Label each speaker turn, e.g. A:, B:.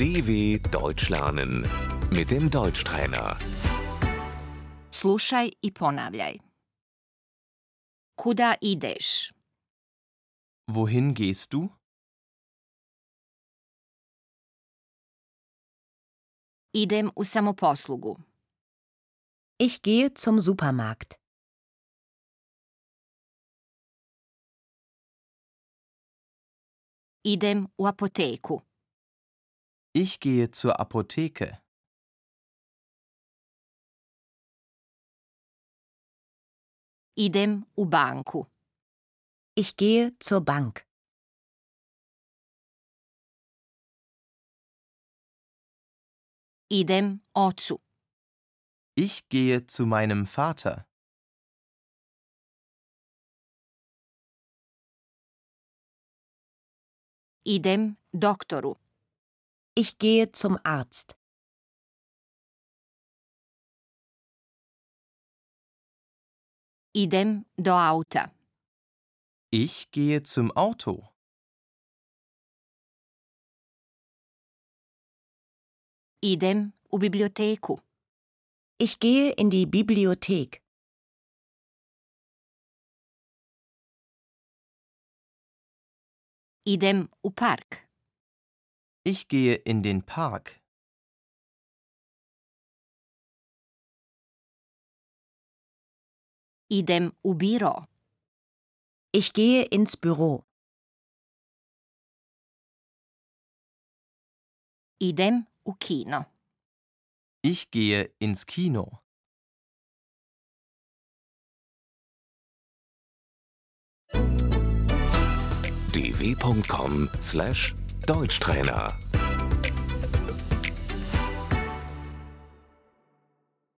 A: DW Deutsch lernen mit dem Deutschtrainer.
B: Slušaj i ponavljaj. Kuda ideš?
C: Wohin gehst du?
B: Idem u samoposlugu.
D: Ich gehe zum Supermarkt.
B: Idem u apoteku.
C: Ich gehe zur Apotheke.
B: Idem u banku.
D: Ich gehe zur Bank.
B: Idem ocu.
C: Ich gehe zu meinem Vater.
B: Idem doktoru.
D: Ich gehe zum Arzt.
B: Idem do auta.
C: Ich gehe zum Auto.
B: Idem u biblioteku.
D: Ich gehe in die Bibliothek.
B: Idem u park.
C: Ich gehe in den Park.
B: Idem u biro.
D: Ich gehe ins Büro.
B: Idem u kino.
C: Ich gehe ins Kino.
A: dw.com/deutschtrainer